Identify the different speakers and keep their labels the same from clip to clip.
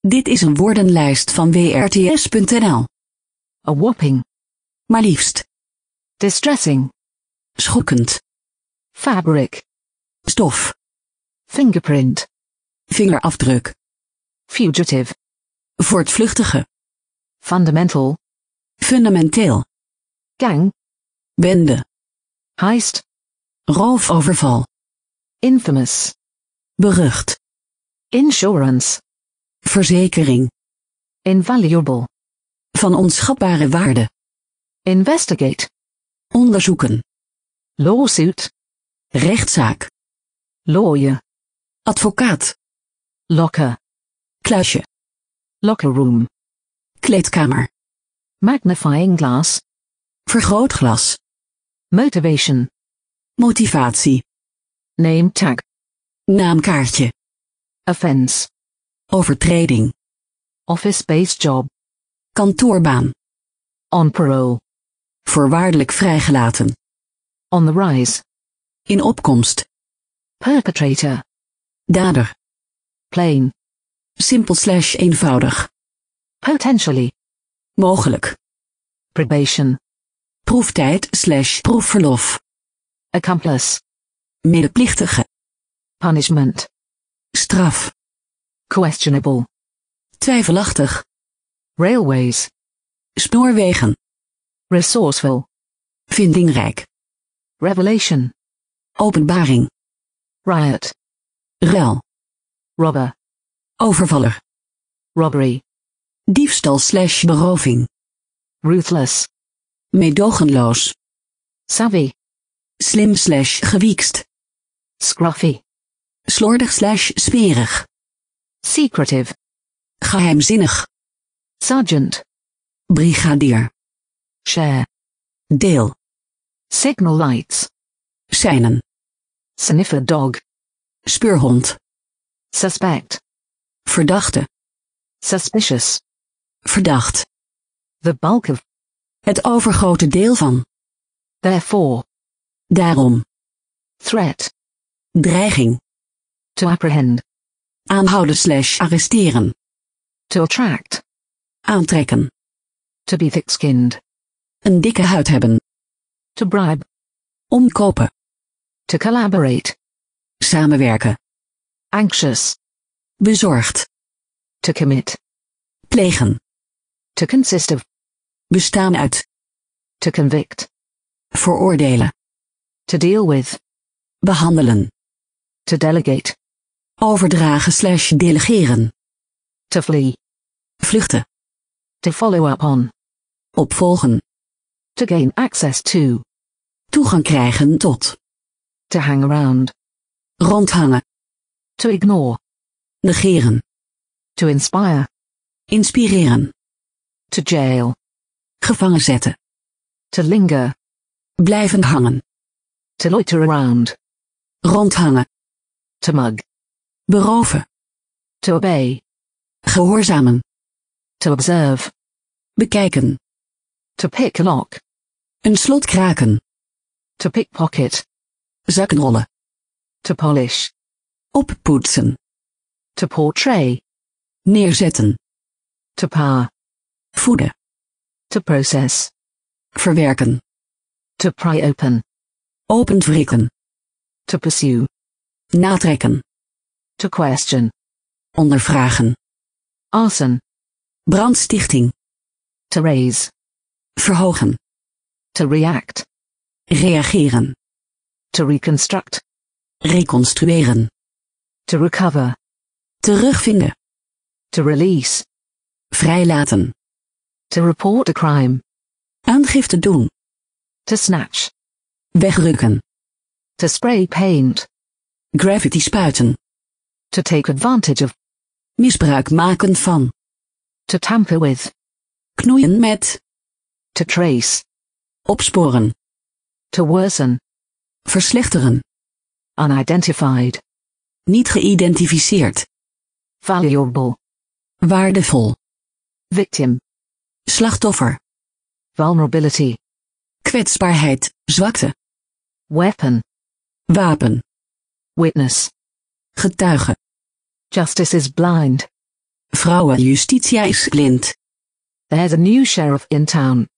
Speaker 1: Dit is een woordenlijst van WRTS.nl.
Speaker 2: A whopping.
Speaker 1: Maar liefst,
Speaker 2: Distressing.
Speaker 1: schokkend,
Speaker 2: Fabric.
Speaker 1: stof,
Speaker 2: Fingerprint.
Speaker 1: vingerafdruk,
Speaker 2: Fugitive.
Speaker 1: voortvluchtige,
Speaker 2: Fundamental.
Speaker 1: fundamenteel,
Speaker 2: Gang.
Speaker 1: bende,
Speaker 2: Heist.
Speaker 1: roofoverval,
Speaker 2: Infamous.
Speaker 1: berucht,
Speaker 2: Insurance.
Speaker 1: verzekering,
Speaker 2: Invaluable.
Speaker 1: van onschatbare waarde,
Speaker 2: Investigate.
Speaker 1: onderzoeken,
Speaker 2: Lawsuit.
Speaker 1: rechtszaak,
Speaker 2: Lawyer.
Speaker 1: advocaat,
Speaker 2: Locker.
Speaker 1: kluisje,
Speaker 2: Locker room.
Speaker 1: kleedkamer,
Speaker 2: Magnifying glass.
Speaker 1: vergrootglas,
Speaker 2: Motivation.
Speaker 1: motivatie,
Speaker 2: Name tag.
Speaker 1: naamkaartje,
Speaker 2: Offense.
Speaker 1: overtreding,
Speaker 2: Office-based job.
Speaker 1: kantoorbaan,
Speaker 2: On parole.
Speaker 1: voorwaardelijk vrijgelaten,
Speaker 2: On the rise.
Speaker 1: in opkomst,
Speaker 2: Perpetrator.
Speaker 1: dader,
Speaker 2: Plain.
Speaker 1: simpel slash eenvoudig,
Speaker 2: Potentially.
Speaker 1: mogelijk,
Speaker 2: Probation.
Speaker 1: proeftijd slash proefverlof,
Speaker 2: Accomplice.
Speaker 1: medeplichtige,
Speaker 2: Punishment.
Speaker 1: straf,
Speaker 2: Questionable.
Speaker 1: twijfelachtig,
Speaker 2: Railways.
Speaker 1: spoorwegen,
Speaker 2: Resourceful.
Speaker 1: vindingrijk,
Speaker 2: Revelation.
Speaker 1: openbaring,
Speaker 2: Riot.
Speaker 1: ruil,
Speaker 2: Robber.
Speaker 1: overvaller,
Speaker 2: Robbery.
Speaker 1: diefstal slash beroving,
Speaker 2: Ruthless.
Speaker 1: meedogenloos,
Speaker 2: Savvy.
Speaker 1: slim slash gewiekst,
Speaker 2: Scruffy.
Speaker 1: slordig slash smerig,
Speaker 2: Secretive.
Speaker 1: geheimzinnig,
Speaker 2: Sergeant.
Speaker 1: brigadier,
Speaker 2: Share.
Speaker 1: deel,
Speaker 2: Signal lights.
Speaker 1: seinen,
Speaker 2: Sniffer dog.
Speaker 1: speurhond,
Speaker 2: Suspect.
Speaker 1: verdachte,
Speaker 2: Suspicious.
Speaker 1: verdacht,
Speaker 2: The bulk of.
Speaker 1: het overgrote deel van,
Speaker 2: Therefore.
Speaker 1: daarom,
Speaker 2: Threat.
Speaker 1: dreiging,
Speaker 2: To apprehend.
Speaker 1: aanhouden slash arresteren,
Speaker 2: To attract.
Speaker 1: aantrekken,
Speaker 2: To be thick-skinned.
Speaker 1: een dikke huid hebben,
Speaker 2: To bribe.
Speaker 1: omkopen,
Speaker 2: To collaborate.
Speaker 1: samenwerken,
Speaker 2: Anxious.
Speaker 1: bezorgd,
Speaker 2: To commit.
Speaker 1: plegen,
Speaker 2: To consist of.
Speaker 1: bestaan uit,
Speaker 2: To convict.
Speaker 1: veroordelen,
Speaker 2: To deal with.
Speaker 1: behandelen,
Speaker 2: To delegate.
Speaker 1: overdragen slash delegeren,
Speaker 2: To flee.
Speaker 1: vluchten,
Speaker 2: To follow up on.
Speaker 1: opvolgen,
Speaker 2: To gain access to.
Speaker 1: toegang krijgen tot,
Speaker 2: To hang around.
Speaker 1: rondhangen,
Speaker 2: To ignore.
Speaker 1: negeren,
Speaker 2: To inspire.
Speaker 1: inspireren,
Speaker 2: To jail.
Speaker 1: gevangen zetten,
Speaker 2: To linger.
Speaker 1: blijven hangen,
Speaker 2: To loiter around.
Speaker 1: rondhangen,
Speaker 2: To mug.
Speaker 1: beroven,
Speaker 2: To obey.
Speaker 1: gehoorzamen,
Speaker 2: To observe.
Speaker 1: bekijken,
Speaker 2: To pick lock.
Speaker 1: een slot kraken,
Speaker 2: To pickpocket.
Speaker 1: zakkenrollen,
Speaker 2: To polish.
Speaker 1: oppoetsen,
Speaker 2: To portray.
Speaker 1: neerzetten,
Speaker 2: To power.
Speaker 1: voeden,
Speaker 2: To process.
Speaker 1: verwerken,
Speaker 2: To pry open.
Speaker 1: opent wrikken,
Speaker 2: To pursue.
Speaker 1: natrekken,
Speaker 2: To question.
Speaker 1: ondervragen,
Speaker 2: Arson.
Speaker 1: brandstichting,
Speaker 2: To raise.
Speaker 1: verhogen,
Speaker 2: To react.
Speaker 1: reageren,
Speaker 2: To reconstruct.
Speaker 1: reconstrueren,
Speaker 2: To recover.
Speaker 1: terugvinden,
Speaker 2: To release.
Speaker 1: vrijlaten,
Speaker 2: To report a crime.
Speaker 1: aangifte doen,
Speaker 2: To snatch.
Speaker 1: wegrukken,
Speaker 2: To spray paint.
Speaker 1: graffiti spuiten,
Speaker 2: To take advantage of.
Speaker 1: misbruik maken van,
Speaker 2: To tamper with.
Speaker 1: knoeien met,
Speaker 2: To trace.
Speaker 1: opsporen,
Speaker 2: To worsen.
Speaker 1: verslechteren,
Speaker 2: Unidentified.
Speaker 1: niet geïdentificeerd,
Speaker 2: Valuable.
Speaker 1: waardevol,
Speaker 2: Victim.
Speaker 1: slachtoffer,
Speaker 2: Vulnerability.
Speaker 1: kwetsbaarheid, zwakte,
Speaker 2: Weapon.
Speaker 1: wapen,
Speaker 2: Witness.
Speaker 1: getuige,
Speaker 2: Justice is blind.
Speaker 1: Vrouwen Justitia is blind.
Speaker 2: There's a new sheriff in town.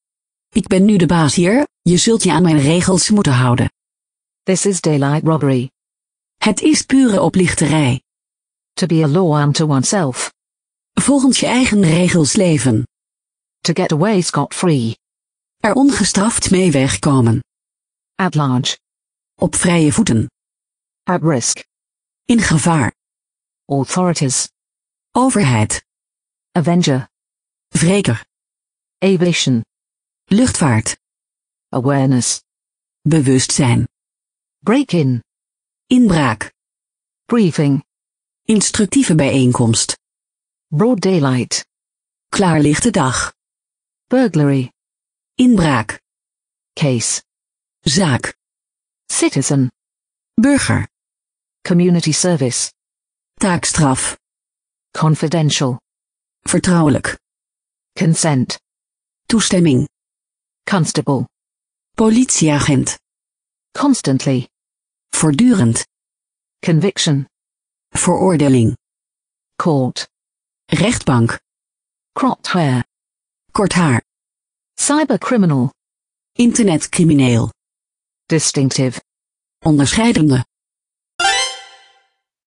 Speaker 1: Ik ben nu de baas hier, je zult je aan mijn regels moeten houden.
Speaker 2: This is daylight robbery.
Speaker 1: Het is pure oplichterij.
Speaker 2: To be a law unto oneself.
Speaker 1: Volgens je eigen regels leven.
Speaker 2: To get away scot-free.
Speaker 1: Er ongestraft mee wegkomen.
Speaker 2: At large.
Speaker 1: Op vrije voeten.
Speaker 2: At risk.
Speaker 1: In gevaar.
Speaker 2: Authorities.
Speaker 1: Overheid.
Speaker 2: Avenger.
Speaker 1: Wreker.
Speaker 2: Aviation.
Speaker 1: Luchtvaart.
Speaker 2: Awareness.
Speaker 1: Bewustzijn.
Speaker 2: Break-in.
Speaker 1: Inbraak.
Speaker 2: Briefing.
Speaker 1: Instructieve bijeenkomst.
Speaker 2: Broad daylight.
Speaker 1: Klaarlichte dag.
Speaker 2: Burglary.
Speaker 1: Inbraak.
Speaker 2: Case.
Speaker 1: Zaak.
Speaker 2: Citizen.
Speaker 1: Burger.
Speaker 2: Community service.
Speaker 1: Taakstraf.
Speaker 2: Confidential.
Speaker 1: Vertrouwelijk.
Speaker 2: Consent.
Speaker 1: Toestemming.
Speaker 2: Constable.
Speaker 1: Politieagent.
Speaker 2: Constantly.
Speaker 1: Voortdurend.
Speaker 2: Conviction.
Speaker 1: Veroordeling.
Speaker 2: Court.
Speaker 1: Rechtbank.
Speaker 2: Cropped hair.
Speaker 1: Kort haar.
Speaker 2: Cyber criminal.
Speaker 1: Internetcrimineel.
Speaker 2: Distinctive.
Speaker 1: Onderscheidende.